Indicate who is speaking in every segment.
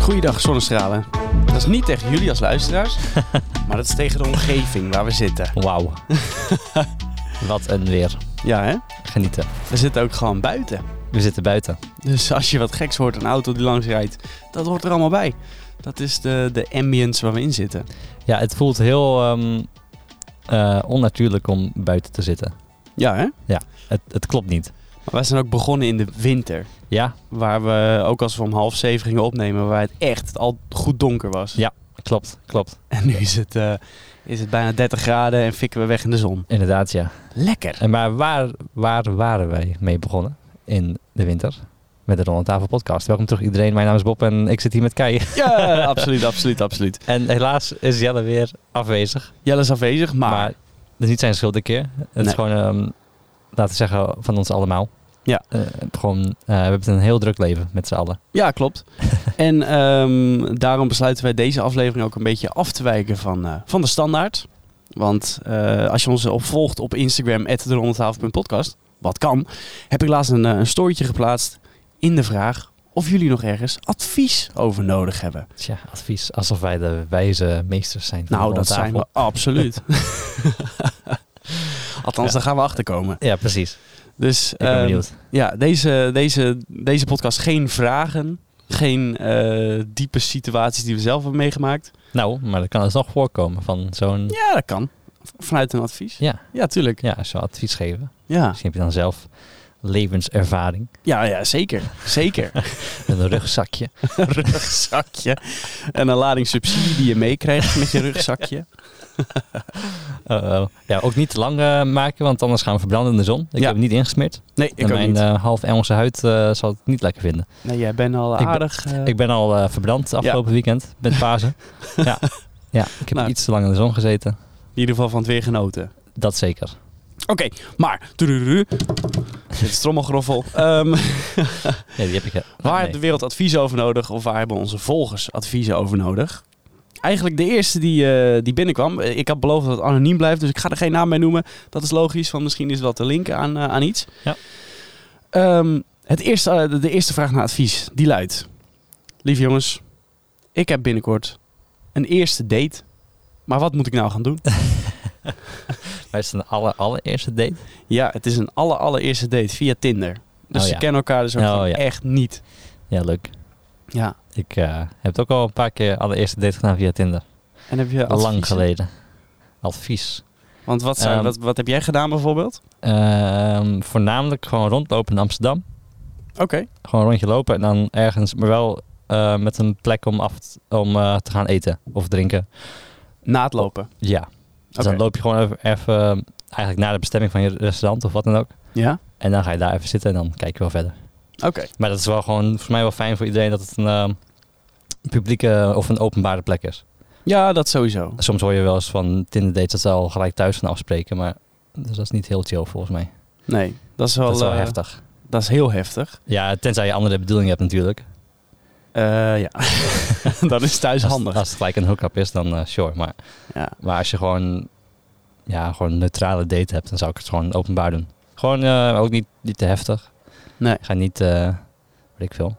Speaker 1: Goeiedag zonnestralen. Dat is niet tegen jullie als luisteraars, maar dat is tegen de omgeving waar we zitten.
Speaker 2: Wauw. Wat een weer.
Speaker 1: Ja, hè?
Speaker 2: Genieten.
Speaker 1: We zitten ook gewoon buiten.
Speaker 2: We zitten buiten.
Speaker 1: Dus als je wat geks hoort, een auto die langs rijdt, dat hoort er allemaal bij. Dat is de, de ambience waar we in zitten.
Speaker 2: Ja, het voelt heel ehm, eh, onnatuurlijk om buiten te zitten.
Speaker 1: Ja, hè?
Speaker 2: Het, het klopt niet.
Speaker 1: Maar wij zijn ook begonnen in de winter.
Speaker 2: Ja,
Speaker 1: Waar we, ook als we om half zeven gingen opnemen, waar het echt al goed donker was.
Speaker 2: Ja. klopt, klopt.
Speaker 1: En nu is het, eh, is het bijna 30 graden en fikken we weg in de zon.
Speaker 2: Inderdaad, ja.
Speaker 1: Lekker.
Speaker 2: En maar waar, waar waren wij mee begonnen in de winter? Met de Ronde Tafel podcast. Welkom terug iedereen. Mijn naam is Bob en ik zit hier met Kai.
Speaker 1: Ja, absoluut, absoluut, absoluut.
Speaker 2: En helaas is Jelle weer afwezig.
Speaker 1: Jelle is afwezig, maar,
Speaker 2: Maar dat is niet zijn schuld een keer. Het is
Speaker 1: Nee.
Speaker 2: gewoon, ehm, laten we zeggen, van ons allemaal.
Speaker 1: Ja.
Speaker 2: Eh, gewoon, eh, we hebben een heel druk leven met z'n allen.
Speaker 1: ja, klopt. en ehm, daarom besluiten wij deze aflevering ook een beetje af te wijken van, eh, van de standaard. Want eh, als je ons opvolgt op Instagram, @derondetafel.podcast, wat kan, heb ik laatst een, eh, een storytje geplaatst in de vraag of jullie nog ergens advies over nodig hebben.
Speaker 2: Tja, advies. Alsof wij de wijze meesters zijn. van de
Speaker 1: Nou, dat
Speaker 2: tafel.
Speaker 1: zijn we absoluut. Althans,
Speaker 2: Ja.
Speaker 1: daar gaan we achter komen.
Speaker 2: Ja, precies.
Speaker 1: Dus
Speaker 2: Ik ben
Speaker 1: ehm,
Speaker 2: benieuwd.
Speaker 1: ja, deze, deze, deze podcast geen vragen, geen eh, diepe situaties die we zelf hebben meegemaakt.
Speaker 2: Nou, maar dat kan dus nog voorkomen van zo'n... Ja.
Speaker 1: Ja, dat kan. V- Vanuit een advies. Ja, tuurlijk.
Speaker 2: zo advies
Speaker 1: Ah.
Speaker 2: geven.
Speaker 1: Ja,
Speaker 2: Misschien heb je dan zelf levenservaring.
Speaker 1: ja, ja zeker. Zeker.
Speaker 2: Een rugzakje.
Speaker 1: rugzakje. En een lading subsidie die je meekrijgt met je rugzakje.
Speaker 2: Uh-oh. Eh, ja, ook niet te lang eh, maken, want anders gaan we verbranden in de zon. Ik
Speaker 1: Ja.
Speaker 2: heb het niet ingesmeerd.
Speaker 1: Nee, ik
Speaker 2: en
Speaker 1: ook
Speaker 2: mijn
Speaker 1: niet.
Speaker 2: eh, half Engelse huid eh, zal het niet lekker vinden.
Speaker 1: Nee, jij bent al
Speaker 2: ik ben-
Speaker 1: aardig. eh,
Speaker 2: Ik ben al eh, verbrand afgelopen weekend met Pasen. ja. ja, ik heb
Speaker 1: Nou.
Speaker 2: iets te lang in de zon gezeten.
Speaker 1: in ieder geval van het weer genoten.
Speaker 2: Dat zeker.
Speaker 1: Oké, maar. Tururu. Dit is trommelgroffel. Ehm,
Speaker 2: Ja, die heb ik. eh,
Speaker 1: waar
Speaker 2: nee.
Speaker 1: heeft de wereld adviezen over nodig? Of waar hebben onze volgers adviezen over nodig? Eigenlijk de eerste die, eh, die binnenkwam. Eh, Ik had beloofd dat het anoniem blijft, dus ik ga er geen naam bij noemen. Dat is logisch, want misschien is dat te linken aan, eh, aan iets.
Speaker 2: Ja.
Speaker 1: Ehm, het eerste, eh, de- de eerste vraag naar advies, die luidt. Lieve jongens, ik heb binnenkort een eerste date. Maar wat moet ik nou gaan doen?
Speaker 2: Maar is het een aller, allereerste date?
Speaker 1: Ja, het is een aller allereerste date via Tinder. Dus
Speaker 2: Oh
Speaker 1: ze
Speaker 2: ja.
Speaker 1: kennen elkaar dus ook
Speaker 2: Oh
Speaker 1: gewoon
Speaker 2: ja.
Speaker 1: echt niet.
Speaker 2: Ja, leuk.
Speaker 1: Ja.
Speaker 2: Ik eh, heb het ook al een paar keer allereerste date gedaan via Tinder.
Speaker 1: En heb je
Speaker 2: Lang
Speaker 1: adviezen?
Speaker 2: geleden. Advies.
Speaker 1: Want wat, zijn,
Speaker 2: Ehm,
Speaker 1: wat, wat heb jij gedaan bijvoorbeeld?
Speaker 2: Ehm, voornamelijk gewoon rondlopen in Amsterdam.
Speaker 1: Oké.
Speaker 2: Gewoon een rondje lopen en dan ergens, maar wel eh, met een plek om, af t- om eh, te gaan eten of drinken.
Speaker 1: Na het lopen.
Speaker 2: Ja. Dus
Speaker 1: Oké.
Speaker 2: dan loop je gewoon even, even eigenlijk naar de bestemming van je restaurant of wat dan ook.
Speaker 1: Ja?
Speaker 2: En dan ga je daar even zitten en dan kijk je wel verder.
Speaker 1: Oké.
Speaker 2: Maar dat is wel gewoon volgens mij wel fijn voor iedereen dat het een ehm, publieke eh, of een openbare plek is.
Speaker 1: Ja, dat sowieso.
Speaker 2: Soms hoor je wel eens van Tinder dates dat ze al gelijk thuis gaan afspreken, maar dus dat is niet heel chill volgens mij.
Speaker 1: Nee, dat is wel,
Speaker 2: dat is wel
Speaker 1: eh,
Speaker 2: heftig.
Speaker 1: Dat is heel heftig.
Speaker 2: Ja, tenzij je andere bedoelingen hebt natuurlijk.
Speaker 1: Eh, ja. dat is thuis
Speaker 2: als,
Speaker 1: handig.
Speaker 2: Als het gelijk een hookup is, dan eh, sure. Maar,
Speaker 1: Ja.
Speaker 2: maar als je gewoon, ja, gewoon een neutrale date hebt, dan zou ik het gewoon openbaar doen. Gewoon eh, ook niet, niet te heftig.
Speaker 1: Nee.
Speaker 2: Ga niet, eh weet ik veel.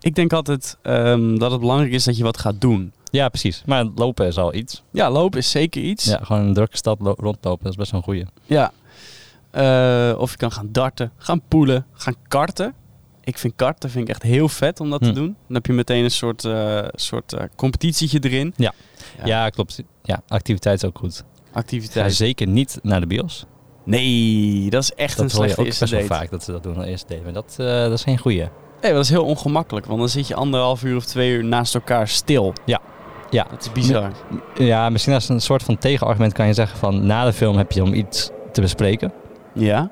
Speaker 1: Ik denk altijd ehm, dat het belangrijk is dat je wat gaat doen.
Speaker 2: Ja, precies. Maar lopen is al iets.
Speaker 1: Ja, lopen is zeker iets.
Speaker 2: Ja, gewoon een drukke stad lo- rondlopen, dat is best wel een goeie.
Speaker 1: Ja. Eh, of je kan gaan darten, gaan poelen, gaan karten. Ik vind karten vind ik echt heel vet om dat te
Speaker 2: Hm.
Speaker 1: doen. Dan heb je meteen een soort, eh, soort eh, competitietje erin. Ja.
Speaker 2: Ja, klopt. Ja, activiteit is ook goed. Ga
Speaker 1: Activiteit.
Speaker 2: zeker niet naar de bios.
Speaker 1: Nee, dat is echt een
Speaker 2: Dat hoor je
Speaker 1: slechte
Speaker 2: ook
Speaker 1: eerste
Speaker 2: best wel
Speaker 1: date.
Speaker 2: vaak, dat ze dat doen als eerste date. Maar dat, eh, dat is geen goeie.
Speaker 1: Nee, maar dat is heel ongemakkelijk. Want dan zit je anderhalf uur of twee uur naast elkaar stil.
Speaker 2: Ja. Ja.
Speaker 1: Dat is bizar.
Speaker 2: Ja, misschien als een soort van tegenargument kan je zeggen van... na de film heb je om iets te bespreken.
Speaker 1: Ja?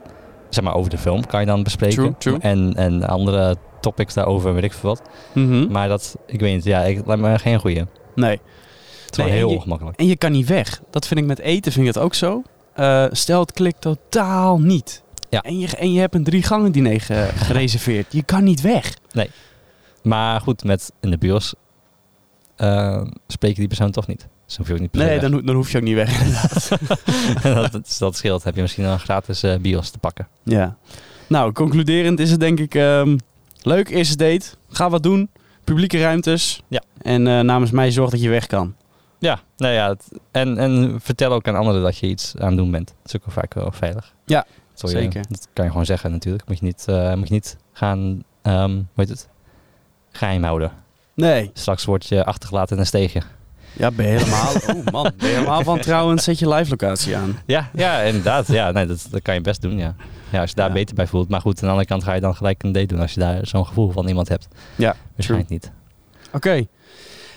Speaker 2: Zeg maar over de film kan je dan bespreken.
Speaker 1: True, true.
Speaker 2: En, en andere topics daarover, weet ik veel wat.
Speaker 1: Mhm.
Speaker 2: Maar dat, ik weet niet, ja, ik, lijkt me geen goeie. Het
Speaker 1: Nee.
Speaker 2: is
Speaker 1: Nee,
Speaker 2: gewoon
Speaker 1: en
Speaker 2: heel
Speaker 1: je-
Speaker 2: ongemakkelijk.
Speaker 1: En je kan niet weg. Dat vind ik met eten vind ik het ook zo. Eh, stel het klikt totaal niet.
Speaker 2: Ja.
Speaker 1: En, je, en je hebt een drie gangen diner ge- gereserveerd. Je kan niet weg.
Speaker 2: Maar goed, met in de bios eh spreek je die persoon toch niet. Dus dan hoef je ook niet per se
Speaker 1: Nee,
Speaker 2: weg.
Speaker 1: dan, ho- dan hoef je ook niet weg inderdaad.
Speaker 2: dat, dat, dat scheelt. Heb je misschien een gratis eh, bios te pakken.
Speaker 1: ja. Nou, concluderend is het denk ik ehm, leuk. Eerste date. Ga wat doen. Publieke ruimtes.
Speaker 2: Ja.
Speaker 1: En eh, namens mij zorg dat je weg kan.
Speaker 2: Ja, nou ja. het- en, en vertel ook aan anderen dat je iets aan het doen bent. Dat is ook wel vaak wel veilig.
Speaker 1: Ja,
Speaker 2: Dat wil je-
Speaker 1: zeker.
Speaker 2: Dat kan je gewoon zeggen natuurlijk. Moet je niet, eh, moet je niet gaan, ehm hoe heet het, geheim houden.
Speaker 1: Nee.
Speaker 2: Straks word je achtergelaten in een steegje.
Speaker 1: Ja, ben je helemaal... oh man, ben je helemaal van trouwens, zet je live locatie aan.
Speaker 2: Ja, ja inderdaad. Ja, nee, dat, dat kan je best doen, ja. ja als je daar
Speaker 1: Ja.
Speaker 2: beter bij voelt. Maar goed, aan de andere kant ga je dan gelijk een date doen als je daar zo'n gevoel van iemand hebt.
Speaker 1: Ja,
Speaker 2: Waarschijnlijk niet.
Speaker 1: Oké.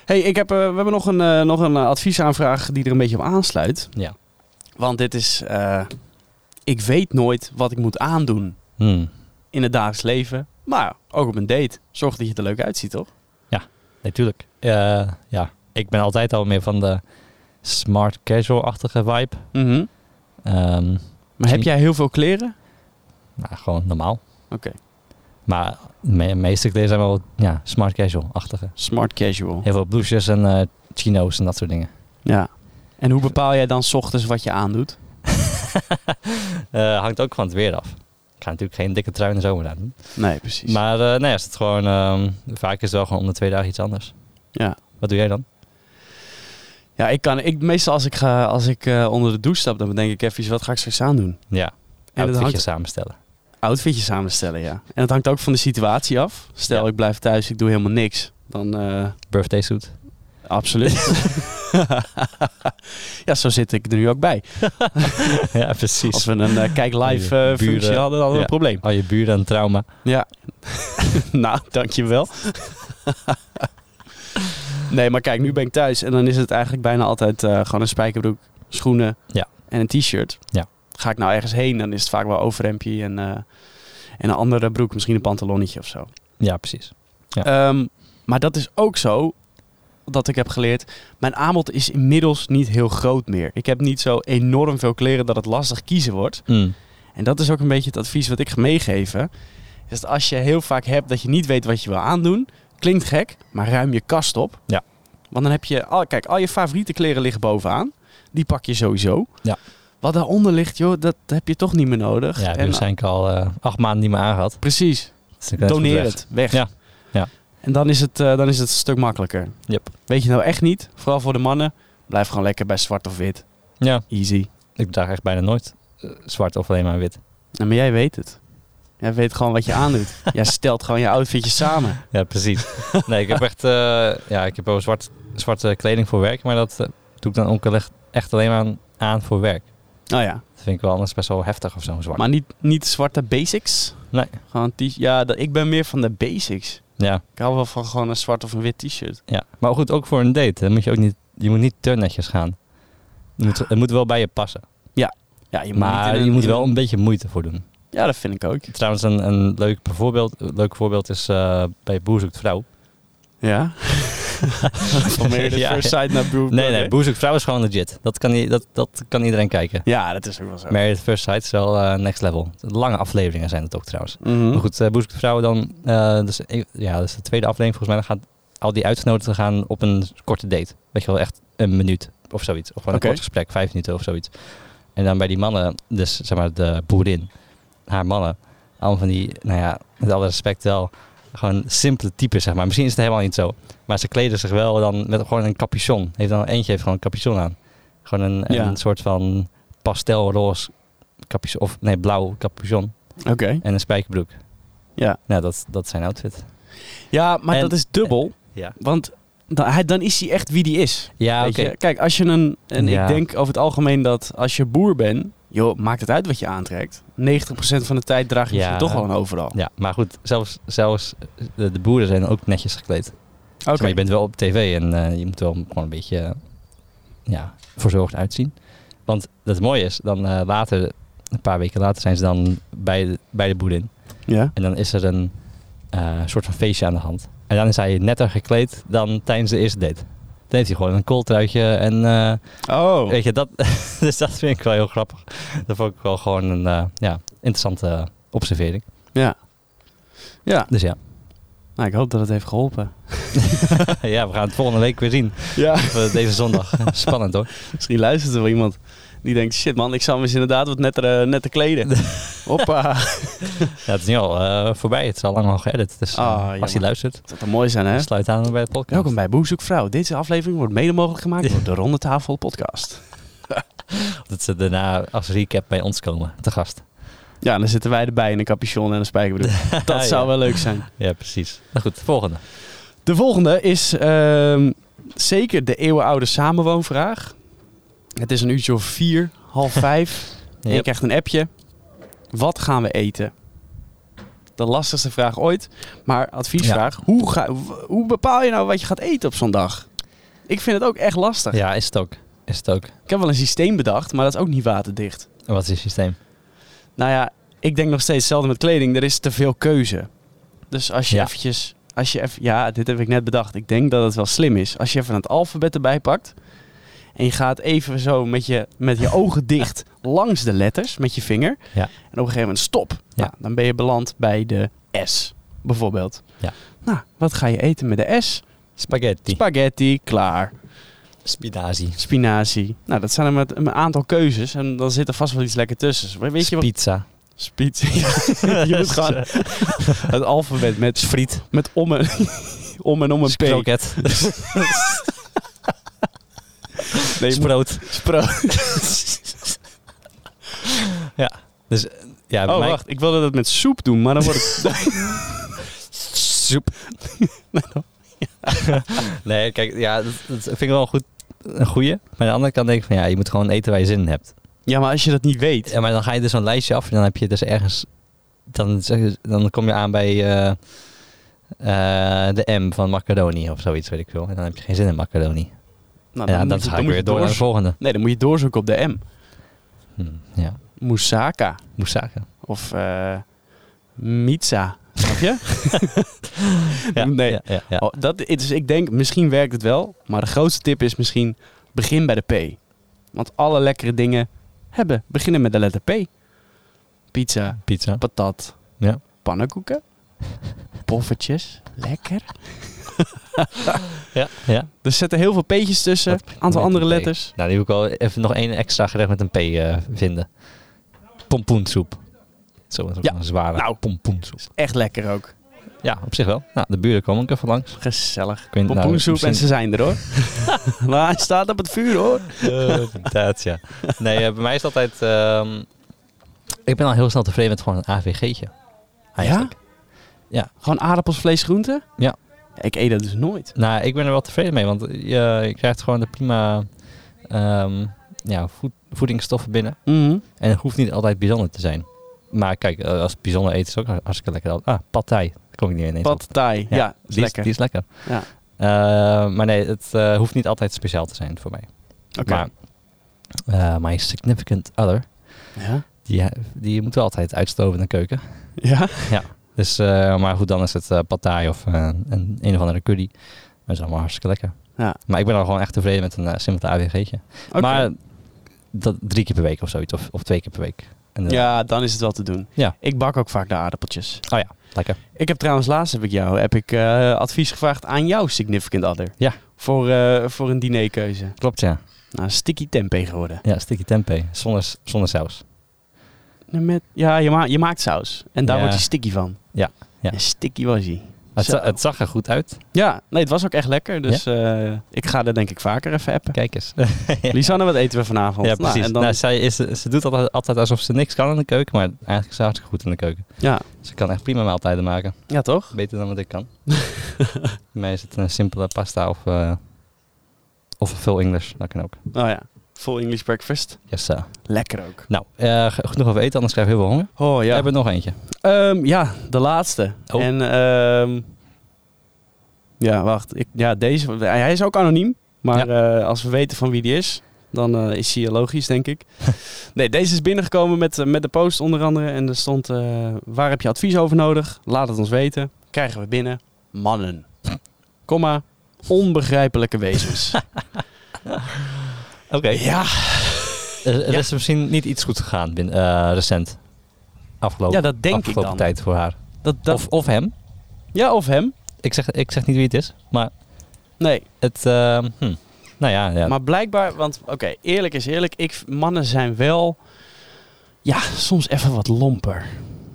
Speaker 1: Hey, ik heb, eh, we hebben nog een, eh, nog een eh, adviesaanvraag die er een beetje op aansluit.
Speaker 2: Ja.
Speaker 1: Want dit is... eh, ik weet nooit wat ik moet aandoen.
Speaker 2: Hmm.
Speaker 1: in het dagelijks leven. Maar ook op een date. Zorg dat je er leuk uitziet, toch?
Speaker 2: Natuurlijk. Eh, ja, ik ben altijd al meer van de smart casual-achtige vibe.
Speaker 1: Mhm.
Speaker 2: Ehm,
Speaker 1: Maar heb jij heel veel kleren?
Speaker 2: nou, gewoon normaal.
Speaker 1: Oké.
Speaker 2: Maar me meeste kleren zijn wel ja, smart casual-achtige.
Speaker 1: Smart casual.
Speaker 2: Heel veel blouses en eh, chino's en dat soort dingen.
Speaker 1: Ja. En hoe bepaal jij dan 's ochtends wat je aandoet?
Speaker 2: Eh, hangt ook van het weer af. Ik ga natuurlijk geen dikke trui in de zomer aan doen.
Speaker 1: Nee, precies.
Speaker 2: Maar eh, nee, is het gewoon, ehm, vaak is het wel gewoon om de twee dagen iets anders.
Speaker 1: Ja.
Speaker 2: Wat doe jij dan?
Speaker 1: ja, ik kan. Ik, meestal als ik, ga, als ik eh, onder de douche stap, dan denk ik even, wat ga ik straks aandoen?
Speaker 2: Ja,
Speaker 1: En dat
Speaker 2: outfitje
Speaker 1: hangt
Speaker 2: samenstellen.
Speaker 1: outfitje samenstellen, ja. En dat hangt ook van de situatie af. Stel,
Speaker 2: Ja.
Speaker 1: ik blijf thuis, ik doe helemaal niks. Dan eh,
Speaker 2: Birthday suit.
Speaker 1: absoluut. ja, zo zit ik er nu ook bij.
Speaker 2: ja, precies.
Speaker 1: Als we een eh, kijk live
Speaker 2: Buren.
Speaker 1: eh, functie hadden, dan hadden we
Speaker 2: Ja.
Speaker 1: een probleem.
Speaker 2: Al je buren een trauma.
Speaker 1: Ja. nou, dankjewel. nee, maar kijk, nu ben ik thuis en dan is het eigenlijk bijna altijd eh, gewoon een spijkerbroek, schoenen
Speaker 2: Ja.
Speaker 1: en een t-shirt.
Speaker 2: Ja.
Speaker 1: Ga ik nou ergens heen, dan is het vaak wel overhemdje en, eh, en een andere broek, misschien een pantalonnetje of zo.
Speaker 2: Ja, precies.
Speaker 1: Ehm, maar dat is ook zo dat ik heb geleerd. Mijn aanbod is inmiddels niet heel groot meer. Ik heb niet zo enorm veel kleren dat het lastig kiezen wordt.
Speaker 2: Mm.
Speaker 1: En dat is ook een beetje het advies wat ik ga meegeven. Is dat als je heel vaak hebt dat je niet weet wat je wil aandoen, klinkt gek, maar ruim je kast op.
Speaker 2: Ja.
Speaker 1: Want dan heb je, al, kijk, al je favoriete kleren liggen bovenaan. Die pak je sowieso.
Speaker 2: Ja.
Speaker 1: Wat daaronder ligt, joh, dat heb je toch niet meer nodig.
Speaker 2: Ja,
Speaker 1: En-
Speaker 2: die waarschijnlijk al eh, acht maanden niet meer aangehad.
Speaker 1: precies.
Speaker 2: Dus dan kan je
Speaker 1: Doneer
Speaker 2: goed
Speaker 1: het, weg.
Speaker 2: Ja. Ja.
Speaker 1: En dan is, het, eh, dan is het een stuk makkelijker.
Speaker 2: Yep.
Speaker 1: Weet je nou echt niet, vooral voor de mannen, blijf gewoon lekker bij zwart of wit.
Speaker 2: weg. Ja,
Speaker 1: Easy.
Speaker 2: ik draag echt bijna nooit eh, zwart of alleen maar wit.
Speaker 1: Nou, maar jij weet het. Jij weet gewoon wat je aandoet. jij stelt gewoon je outfitjes samen.
Speaker 2: Ja, precies. nee, ik heb echt eh, ja, ik heb wel zwart, zwarte kleding voor werk, maar dat eh, doe ik dan ook wel echt- echt alleen maar aan, aan voor werk.
Speaker 1: Nou ja,
Speaker 2: Dat vind ik wel anders best wel heftig of zo, zwart.
Speaker 1: Maar niet, niet zwarte basics?
Speaker 2: Nee.
Speaker 1: Gewoon t ja, dat, ik ben meer van de basics.
Speaker 2: ja,
Speaker 1: Ik hou wel van gewoon een zwart of een wit t-shirt.
Speaker 2: ja. Maar goed, ook voor een date. Dan moet je ook niet, je moet niet te netjes gaan. Het moet, het moet wel bij je passen.
Speaker 1: Ja, je niet
Speaker 2: Maar
Speaker 1: in een-
Speaker 2: je moet
Speaker 1: in
Speaker 2: wel
Speaker 1: een-
Speaker 2: een beetje moeite voor doen.
Speaker 1: Ja, dat vind ik ook.
Speaker 2: Trouwens, een, een leuk, voorbeeld, leuk voorbeeld is eh, bij Boer zoekt vrouw.
Speaker 1: Ja? van meer de
Speaker 2: Ja,
Speaker 1: first
Speaker 2: ja.
Speaker 1: sight naar Broer.
Speaker 2: Nee, nee, Boer zoekt vrouw is gewoon legit. Dat kan, i- dat, dat kan iedereen kijken.
Speaker 1: Ja, dat is ook wel zo.
Speaker 2: Married at First Sight is wel eh, next level. Lange afleveringen zijn het ook trouwens.
Speaker 1: Mhm.
Speaker 2: Maar goed, eh Boer zoekt vrouw dan... eh, dus, e- ja, dat is de tweede aflevering volgens mij. Dan gaan al die uitgenodigden gaan op een korte date. Weet je wel, echt een minuut of zoiets. Of gewoon een
Speaker 1: Oké.
Speaker 2: kort gesprek, vijf minuten of zoiets. En dan bij die mannen, dus zeg maar de boerin, haar mannen. Allemaal van die, nou ja, met alle respect wel... Gewoon simpele types, zeg maar. Misschien is het helemaal niet zo. Maar ze kleden zich wel dan met gewoon een capuchon. Heeft dan, eentje heeft gewoon een capuchon aan. Gewoon een,
Speaker 1: Ja.
Speaker 2: een soort van pastelroze capuchon. Of nee, blauw capuchon.
Speaker 1: Oké.
Speaker 2: En een spijkerbroek.
Speaker 1: Ja.
Speaker 2: Nou, dat, is- dat is zijn outfit.
Speaker 1: Ja, maar
Speaker 2: En-
Speaker 1: dat is dubbel.
Speaker 2: Ja.
Speaker 1: Want dan, hij, dan is hij echt wie die is.
Speaker 2: Ja,
Speaker 1: Weet
Speaker 2: oké.
Speaker 1: je? Kijk, als je een... En
Speaker 2: Ja.
Speaker 1: ik denk over het algemeen dat als je boer bent... joh, maakt het uit wat je aantrekt. 90% van de tijd draag je
Speaker 2: Ja.
Speaker 1: misschien toch wel een overal.
Speaker 2: Ja, maar goed, zelfs, zelfs eh, de, de boeren zijn ook netjes gekleed. Zeg
Speaker 1: Oké.
Speaker 2: Maar je bent wel op tv en eh, je moet wel gewoon een beetje eh, ja, verzorgd uitzien. Want het mooie is, dan eh, later, een paar weken later zijn ze dan bij de, bij de boerin.
Speaker 1: Ja.
Speaker 2: En dan is er een eh, soort van feestje aan de hand. En dan is hij netter gekleed dan tijdens de eerste date. Dan heeft hij gewoon een kooltruitje en eh,
Speaker 1: Oh.
Speaker 2: weet je, dat, dus dat vind ik wel heel grappig. Dat vond ik wel gewoon een eh, ja, interessante observering.
Speaker 1: Ja. Ja,
Speaker 2: Dus ja,
Speaker 1: Nou, ik hoop dat het heeft geholpen.
Speaker 2: ja, we gaan het volgende week weer zien.
Speaker 1: Ja.
Speaker 2: Of, eh, Deze zondag. Spannend hoor.
Speaker 1: Misschien luistert er wel iemand die denkt, shit man, ik zou me eens inderdaad wat netter, eh, netter kleden. Hoppa.
Speaker 2: Ja, het is nu al eh, voorbij. Het is al lang al geëdit. Dus eh,
Speaker 1: Ah,
Speaker 2: als
Speaker 1: jammer.
Speaker 2: hij luistert,
Speaker 1: Dat zou mooi zijn, hè?
Speaker 2: sluit aan bij het podcast.
Speaker 1: Welkom bij Boezoek Vrouw. Deze aflevering wordt mede mogelijk gemaakt door de Ronde Tafel Podcast.
Speaker 2: Dat ze daarna als recap bij ons komen, te gast.
Speaker 1: Ja, en dan zitten wij erbij in een capuchon en een spijkerbroek.
Speaker 2: Ja.
Speaker 1: Dat zou wel leuk zijn.
Speaker 2: Ja, precies. Nou goed, volgende.
Speaker 1: De volgende is ehm, zeker de eeuwenoude samenwoonvraag. Het is een uurtje of vier, half vijf. En je
Speaker 2: Yep.
Speaker 1: krijgt een appje. Wat gaan we eten? De lastigste vraag ooit. Maar adviesvraag. Hoe, ga, w- hoe bepaal je nou wat je gaat eten op zo'n dag? Ik vind het ook echt lastig.
Speaker 2: Ja, is het ook. Is het ook.
Speaker 1: Ik heb wel een systeem bedacht, maar dat is ook niet waterdicht.
Speaker 2: En Wat is je systeem?
Speaker 1: Nou ja, ik denk nog steeds hetzelfde met kleding. Er is te veel keuze. Dus als je
Speaker 2: Ja.
Speaker 1: eventjes... Als je even, ja, dit heb ik net bedacht. Ik denk dat het wel slim is. Als je even het alfabet erbij pakt... en je gaat even zo met je, met je ogen dicht langs de letters met je vinger...
Speaker 2: Ja.
Speaker 1: en op een gegeven moment stop.
Speaker 2: Ja.
Speaker 1: Nou, dan ben je beland bij de S, bijvoorbeeld.
Speaker 2: Ja.
Speaker 1: Nou, wat ga je eten met de S?
Speaker 2: Spaghetti.
Speaker 1: Spaghetti, klaar.
Speaker 2: Spinazie.
Speaker 1: Spinazie. Nou, dat zijn er met een aantal keuzes. En dan zit er vast wel iets lekker tussen. Weet je wat?
Speaker 2: Pizza.
Speaker 1: Spiet. je moet gaan het alfabet met friet. Met om en, om en om een P.
Speaker 2: Kroket.
Speaker 1: Nee, je moet-
Speaker 2: Sproot.
Speaker 1: spro-
Speaker 2: Dus eh, ja,
Speaker 1: Oh,
Speaker 2: mijn-
Speaker 1: wacht. Ik wilde dat met soep doen, maar dan wordt het...
Speaker 2: Soep. nee, kijk, ja, dat, dat vind ik wel een goed, een goeie. Maar aan de andere kant denk ik van, ja, je moet gewoon eten waar je zin in hebt.
Speaker 1: ja, maar als je dat niet weet...
Speaker 2: Ja, maar dan ga je dus zo'n lijstje af en dan heb je dus ergens... Dan, zeg je- dan kom je aan bij eh, eh, de M van macaroni of zoiets, weet ik veel. En dan heb je geen zin in macaroni.
Speaker 1: Nou,
Speaker 2: ja,
Speaker 1: moet
Speaker 2: dan
Speaker 1: je-
Speaker 2: ga ik
Speaker 1: moet
Speaker 2: weer
Speaker 1: je
Speaker 2: door naar de
Speaker 1: doorzo-
Speaker 2: volgende.
Speaker 1: Nee, dan moet je doorzoeken op de M.
Speaker 2: Hm, ja,
Speaker 1: Moussaka.
Speaker 2: moussaka.
Speaker 1: Of eh Mitsa. Snap je?
Speaker 2: Ja,
Speaker 1: nee.
Speaker 2: Ja, ja, ja.
Speaker 1: Oh, dat, dus ik denk, misschien werkt het wel. Maar de grootste tip is misschien... Begin bij de P. Want alle lekkere dingen hebben... Beginnen met de letter P. Pizza,
Speaker 2: Pizza.
Speaker 1: patat.
Speaker 2: Ja.
Speaker 1: Pannenkoeken. Poffertjes. Lekker.
Speaker 2: Ja, ja.
Speaker 1: Er zitten heel veel P'tjes tussen.
Speaker 2: Wat-
Speaker 1: Een aantal
Speaker 2: met
Speaker 1: andere
Speaker 2: een P.
Speaker 1: letters.
Speaker 2: Nou, die moet ik wel even nog één extra gerecht met een P eh, vinden. Pompoensoep. Zo, dat is ook
Speaker 1: Ja,
Speaker 2: een zware
Speaker 1: nou.
Speaker 2: pompoensoep.
Speaker 1: Echt lekker ook.
Speaker 2: Ja, op zich wel. Nou, de buren komen ook even langs.
Speaker 1: Gezellig.
Speaker 2: Ik weet- nou,
Speaker 1: Pompoensoep
Speaker 2: misschien-
Speaker 1: en ze zijn er hoor. maar hij staat op het vuur hoor.
Speaker 2: Eh, Inderdaad, ja. Nee, eh, bij mij is het altijd... ehm, ik ben al heel snel tevreden met gewoon een AVG'tje. Eigenlijk. Ja.
Speaker 1: Gewoon aardappels, vlees, groenten?
Speaker 2: Ja.
Speaker 1: Ik eet dat dus nooit.
Speaker 2: Nou, ik ben er wel tevreden mee, want je, je krijgt gewoon de prima ehm, ja, voed- voedingsstoffen binnen.
Speaker 1: Mhm.
Speaker 2: En het hoeft niet altijd bijzonder te zijn. Maar kijk, eh, als het bijzonder eten is ook hartstikke lekker. Ah, pad thai. Daar kom ik niet ineens op.
Speaker 1: Pad thai. Ja, is
Speaker 2: die, is,
Speaker 1: lekker.
Speaker 2: die is lekker.
Speaker 1: Ja.
Speaker 2: Eh, maar nee, het eh, hoeft niet altijd speciaal te zijn voor mij.
Speaker 1: Oké.
Speaker 2: Maar eh, my significant other,
Speaker 1: Ja?
Speaker 2: die, die moet wel altijd uitstoven in de keuken.
Speaker 1: Ja?
Speaker 2: Dus, eh, maar goed, dan is het eh pad thai of eh, een, een of andere curry. Dat is allemaal hartstikke lekker.
Speaker 1: Ja.
Speaker 2: Maar ik ben al gewoon echt tevreden met een eh, simpel AWG'tje.
Speaker 1: Oké.
Speaker 2: Maar dat drie keer per week of zoiets, of, of twee keer per week. En eh, dan-
Speaker 1: ja, dan is het wel te doen.
Speaker 2: Ja.
Speaker 1: Ik bak ook vaak de aardappeltjes.
Speaker 2: Oh ja, lekker.
Speaker 1: Ik heb trouwens laatst heb ik jou heb ik, eh, advies gevraagd aan jouw significant other.
Speaker 2: Ja.
Speaker 1: Voor, eh, voor een dinerkeuze.
Speaker 2: Klopt, ja.
Speaker 1: Nou, sticky tempeh geworden.
Speaker 2: Ja, sticky tempeh, zonder, zonder saus.
Speaker 1: Nee, Met, ja, je, ma- je maakt saus. En daar
Speaker 2: Ja.
Speaker 1: wordt hij sticky van.
Speaker 2: Ja, ja.
Speaker 1: En sticky was hij.
Speaker 2: Het,
Speaker 1: Zo.
Speaker 2: za- het zag er goed uit.
Speaker 1: Ja, nee, het was ook echt lekker. Dus eh, ik ga er denk ik vaker even appen.
Speaker 2: Kijk eens.
Speaker 1: Lisanne, wat eten we vanavond?
Speaker 2: Ja,
Speaker 1: Nou,
Speaker 2: precies.
Speaker 1: en
Speaker 2: Nou,
Speaker 1: dan,
Speaker 2: zij is, ze doet altijd, altijd alsof ze niks kan in de keuken, maar eigenlijk is ze hartstikke goed in de keuken.
Speaker 1: ja.
Speaker 2: Ze kan echt prima maaltijden maken.
Speaker 1: ja, toch?
Speaker 2: Beter dan wat ik kan. Bij mij is het een simpele pasta of, eh of veel English. Dat kan ook.
Speaker 1: Nou ja, full English breakfast.
Speaker 2: Yes, sir.
Speaker 1: Lekker ook.
Speaker 2: Nou, eh, g- genoeg over eten, anders krijg ik heel veel honger.
Speaker 1: Oh
Speaker 2: We
Speaker 1: ja.
Speaker 2: hebben er nog eentje.
Speaker 1: Ehm, ja, de laatste.
Speaker 2: Oh.
Speaker 1: En ehm, ja, wacht. Ik, ja, deze, hij is ook anoniem. Maar eh, als we weten van wie die is, dan eh, is hij logisch, denk ik. nee, deze is binnengekomen met, eh, met de post onder andere. En er stond, eh, waar heb je advies over nodig? Laat het ons weten. Krijgen we binnen. Mannen. Komma. Onbegrijpelijke wezens.
Speaker 2: Oké.
Speaker 1: ja,
Speaker 2: Eh, Er, er
Speaker 1: Ja.
Speaker 2: is misschien niet iets goed gegaan bin- eh, recent. Afgelopen,
Speaker 1: ja, dat denk ik
Speaker 2: afgelopen
Speaker 1: dan.
Speaker 2: tijd voor haar.
Speaker 1: Dat, dat,
Speaker 2: Of, of hem.
Speaker 1: ja, of hem.
Speaker 2: Ik zeg, ik zeg niet wie het is, maar
Speaker 1: Nee,
Speaker 2: het... ehm, hm. Nou ja, ja.
Speaker 1: maar blijkbaar, want oké, eerlijk is eerlijk. Ik, mannen zijn wel, ja, soms even wat lomper.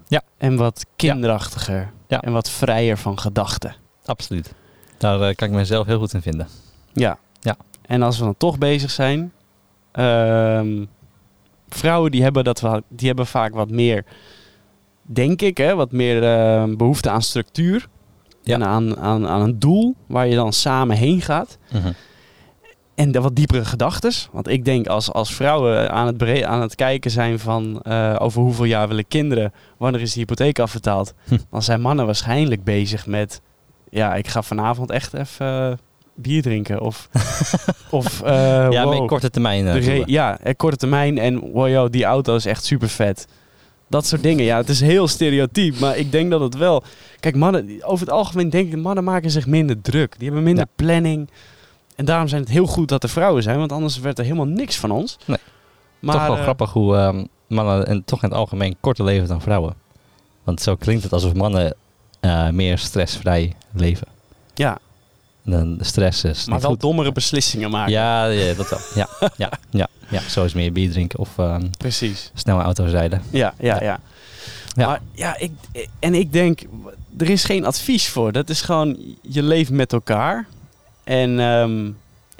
Speaker 2: Ja.
Speaker 1: En wat kinderachtiger.
Speaker 2: Ja.
Speaker 1: En wat vrijer van gedachten.
Speaker 2: absoluut. Daar eh, kan ik mezelf heel goed in vinden.
Speaker 1: Ja.
Speaker 2: Ja.
Speaker 1: En als we dan toch bezig zijn, ehm, vrouwen die hebben, dat, wa- die hebben vaak wat meer, denk ik, hè, wat meer ehm, behoefte aan structuur.
Speaker 2: Ja.
Speaker 1: En aan, aan, aan een doel waar je dan samen heen gaat.
Speaker 2: Mhm.
Speaker 1: En de wat diepere gedachten. Want ik denk als, als vrouwen aan het, bere- aan het kijken zijn van eh, over hoeveel jaar willen kinderen, wanneer is de hypotheek afbetaald,
Speaker 2: Hm.
Speaker 1: dan zijn mannen waarschijnlijk bezig met, ja, ik ga vanavond echt even eh, bier drinken. Of, of eh,
Speaker 2: ja,
Speaker 1: wow,
Speaker 2: maar korte termijn. eh,
Speaker 1: de re-
Speaker 2: doelen.
Speaker 1: ja, eh, korte termijn en wow, yo, die auto is echt super vet. Dat soort dingen. Ja, het is heel stereotyp, maar ik denk dat het wel. Kijk, mannen, over het algemeen denk ik, mannen maken zich minder druk. Die hebben minder planning. En daarom zijn het heel goed dat er vrouwen zijn, want anders werd er helemaal niks van ons.
Speaker 2: Nee.
Speaker 1: Maar,
Speaker 2: toch wel
Speaker 1: eh,
Speaker 2: grappig hoe ehm, mannen en toch in het algemeen korter leven dan vrouwen. Want zo klinkt het alsof mannen eh, meer stressvrij leven.
Speaker 1: Ja,
Speaker 2: En dan de stress is
Speaker 1: maar
Speaker 2: niet
Speaker 1: wel
Speaker 2: goed.
Speaker 1: dommere beslissingen maken.
Speaker 2: Ja, ja, dat wel. Ja, ja, ja, ja. Zo is meer bier drinken of ehm
Speaker 1: Precies.
Speaker 2: snelle auto's rijden.
Speaker 1: Ja, ja, ja.
Speaker 2: Ja. Ja.
Speaker 1: Maar ja, ik, en ik denk, er is geen advies voor. Dat is gewoon, je leeft met elkaar. En ehm,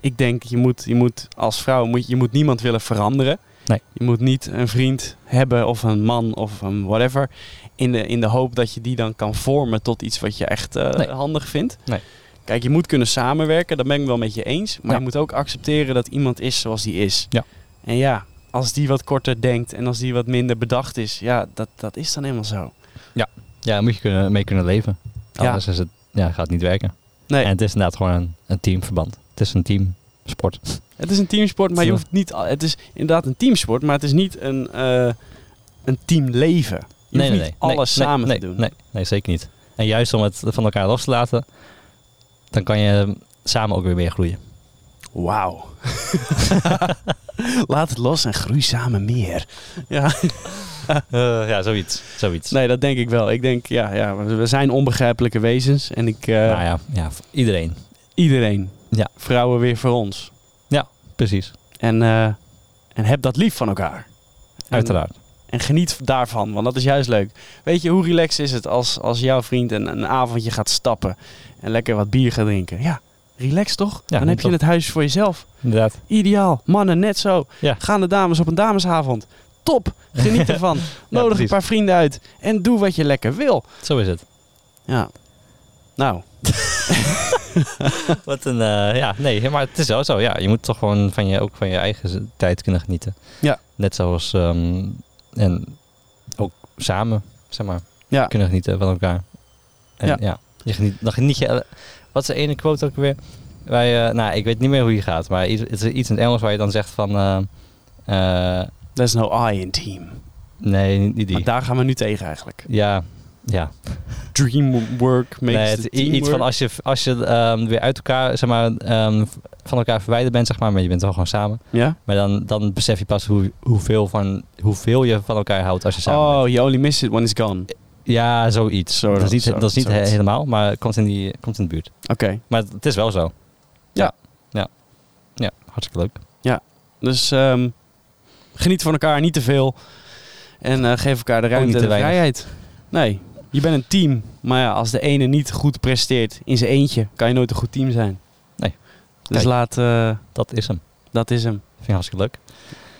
Speaker 1: ik denk, je moet, je moet als vrouw, moet, je moet niemand willen veranderen.
Speaker 2: Nee.
Speaker 1: Je moet niet een vriend hebben of een man of een whatever. In de, in de hoop dat je die dan kan vormen tot iets wat je echt eh,
Speaker 2: Nee.
Speaker 1: handig vindt.
Speaker 2: Nee.
Speaker 1: Kijk, je moet kunnen samenwerken, daar ben ik wel met je eens. Maar
Speaker 2: Ja.
Speaker 1: je moet ook accepteren dat iemand is zoals die is.
Speaker 2: Ja.
Speaker 1: En ja, als die wat korter denkt en als die wat minder bedacht is, ja, dat, dat is dan helemaal zo.
Speaker 2: Ja, daar moet je kunnen, mee kunnen leven.
Speaker 1: Ja.
Speaker 2: Anders is het, ja, gaat het niet werken.
Speaker 1: Nee.
Speaker 2: En het is inderdaad gewoon een, een teamverband. Het is een teamsport.
Speaker 1: Het is een teamsport, maar je
Speaker 2: Ja.
Speaker 1: hoeft niet. al- Het is inderdaad een teamsport, maar het is niet een, eh, een teamleven. Je hoeft niet alles
Speaker 2: nee,
Speaker 1: samen
Speaker 2: nee,
Speaker 1: te doen.
Speaker 2: Nee, nee, zeker niet. En juist om het van elkaar los te laten, dan kan je ehm, samen ook weer meer groeien.
Speaker 1: Wauw. Laat het los en groei samen meer. Ja,
Speaker 2: Eh, ja, zoiets. zoiets.
Speaker 1: nee, dat denk ik wel. Ik denk, ja, ja we zijn onbegrijpelijke wezens. En ik, eh,
Speaker 2: nou ja, ja, voor iedereen.
Speaker 1: iedereen,
Speaker 2: Ja.
Speaker 1: vrouwen weer voor ons.
Speaker 2: Precies.
Speaker 1: En, eh, en heb dat lief van elkaar. En-
Speaker 2: Uiteraard.
Speaker 1: En geniet daarvan, want dat is juist leuk. Weet je, hoe relaxed is het als, als jouw vriend een, een avondje gaat stappen en lekker wat bier gaat drinken? Ja, relax toch? Dan heb
Speaker 2: klopt.
Speaker 1: je het huis voor jezelf.
Speaker 2: Inderdaad.
Speaker 1: Ideaal. Mannen, net zo.
Speaker 2: Ja.
Speaker 1: Gaan de dames op een damesavond. Top. Geniet ervan. Nodig een
Speaker 2: precies.
Speaker 1: paar vrienden uit en doe wat je lekker wil.
Speaker 2: Zo is het.
Speaker 1: Ja. Nou,
Speaker 2: Wat een, eh, ja, nee, maar het is wel zo. Ja, je moet toch gewoon van je, ook van je eigen z- tijd kunnen genieten.
Speaker 1: Ja.
Speaker 2: Net zoals, ehm, en ook samen, zeg maar,
Speaker 1: Ja.
Speaker 2: kunnen genieten van elkaar. En
Speaker 1: Ja.
Speaker 2: ja. je geniet, dan geniet je, eh, wat is de ene quote ook weer? Wij, eh, nou, ik weet niet meer hoe je gaat, maar iets, het is iets in het Engels waar je dan zegt van, eh, eh,
Speaker 1: there's no I in team.
Speaker 2: nee, niet
Speaker 1: Maar
Speaker 2: die.
Speaker 1: daar gaan we nu tegen eigenlijk.
Speaker 2: Ja, ja.
Speaker 1: Dream work makes
Speaker 2: Nee,
Speaker 1: the
Speaker 2: het is
Speaker 1: team
Speaker 2: iets van als je, als je ehm, weer uit elkaar, zeg maar, ehm, v- van elkaar verwijderd bent, zeg maar, maar je bent wel gewoon samen.
Speaker 1: Ja?
Speaker 2: Maar dan, dan besef je pas hoe, hoeveel, van, hoeveel je van elkaar houdt als je samen bent.
Speaker 1: Oh, you only miss it when it's gone. Oké.
Speaker 2: Ja, zoiets.
Speaker 1: Zo,
Speaker 2: dat is niet,
Speaker 1: zo,
Speaker 2: dat is niet
Speaker 1: zoiets.
Speaker 2: he- helemaal, maar het komt in, die, komt in de buurt. Maar het, het is wel zo.
Speaker 1: Ja.
Speaker 2: Ja. Ja, hartstikke leuk.
Speaker 1: Dus ehm, geniet van elkaar niet te veel. En eh, geef elkaar de ruimte
Speaker 2: niet
Speaker 1: en
Speaker 2: te
Speaker 1: de
Speaker 2: weinig.
Speaker 1: vrijheid. Nee, je bent een team. Maar ja, als de ene niet goed presteert in zijn eentje, kan je nooit een goed team zijn.
Speaker 2: Nee.
Speaker 1: Dus
Speaker 2: Kijk.
Speaker 1: laat, eh,
Speaker 2: Dat is hem.
Speaker 1: dat is hem.
Speaker 2: Vind ik hartstikke leuk.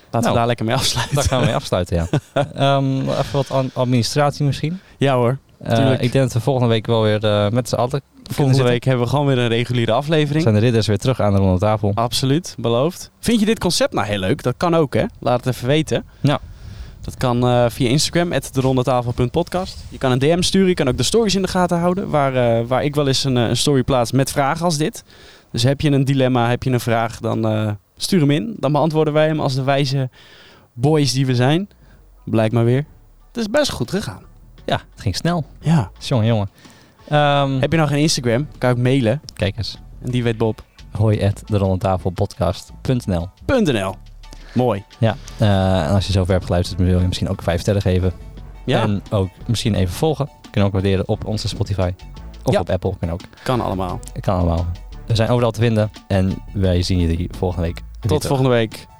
Speaker 1: Laten
Speaker 2: Nou.
Speaker 1: we daar lekker mee afsluiten.
Speaker 2: Daar gaan we mee afsluiten, ja. Ehm, even wat an- administratie misschien.
Speaker 1: Ja hoor.
Speaker 2: Eh,
Speaker 1: Tuurlijk.
Speaker 2: ik denk dat we volgende week wel weer eh, met z'n allen kunnen
Speaker 1: Volgende
Speaker 2: zitten.
Speaker 1: week hebben we gewoon weer een reguliere aflevering.
Speaker 2: zijn de ridders weer terug aan de ronde tafel.
Speaker 1: Absoluut, beloofd. Vind je dit concept nou heel leuk? Dat kan ook, hè? Laat het even weten.
Speaker 2: Ja.
Speaker 1: Dat kan eh, via Instagram, derondetafel.podcast. Je kan een DM sturen, je kan ook de stories in de gaten houden. Waar, eh, waar ik wel eens een, eh, een story plaats met vragen als dit. Dus heb je een dilemma, heb je een vraag, dan eh, stuur hem in. Dan beantwoorden wij hem als de wijze boys die we zijn. Blijkt maar weer. Het is best goed gegaan.
Speaker 2: Ja, het ging snel.
Speaker 1: Ja.
Speaker 2: Jongen, jongen. Ehm,
Speaker 1: Heb je nou geen Instagram? Kan ik mailen.
Speaker 2: Kijk eens.
Speaker 1: En die weet
Speaker 2: Hoi at de rondetafelpodcast.nl
Speaker 1: Bob.nl. Mooi.
Speaker 2: Eh, En als je zover hebt geluisterd, wil je misschien ook vijf sterren geven.
Speaker 1: Ja.
Speaker 2: En ook misschien even volgen. Kunnen we ook waarderen op onze Spotify. Of
Speaker 1: Ja.
Speaker 2: op Apple, kan ook.
Speaker 1: Kan allemaal.
Speaker 2: Het kan allemaal. We zijn overal te vinden en wij zien jullie volgende week. weer
Speaker 1: Tot
Speaker 2: terug.
Speaker 1: volgende week.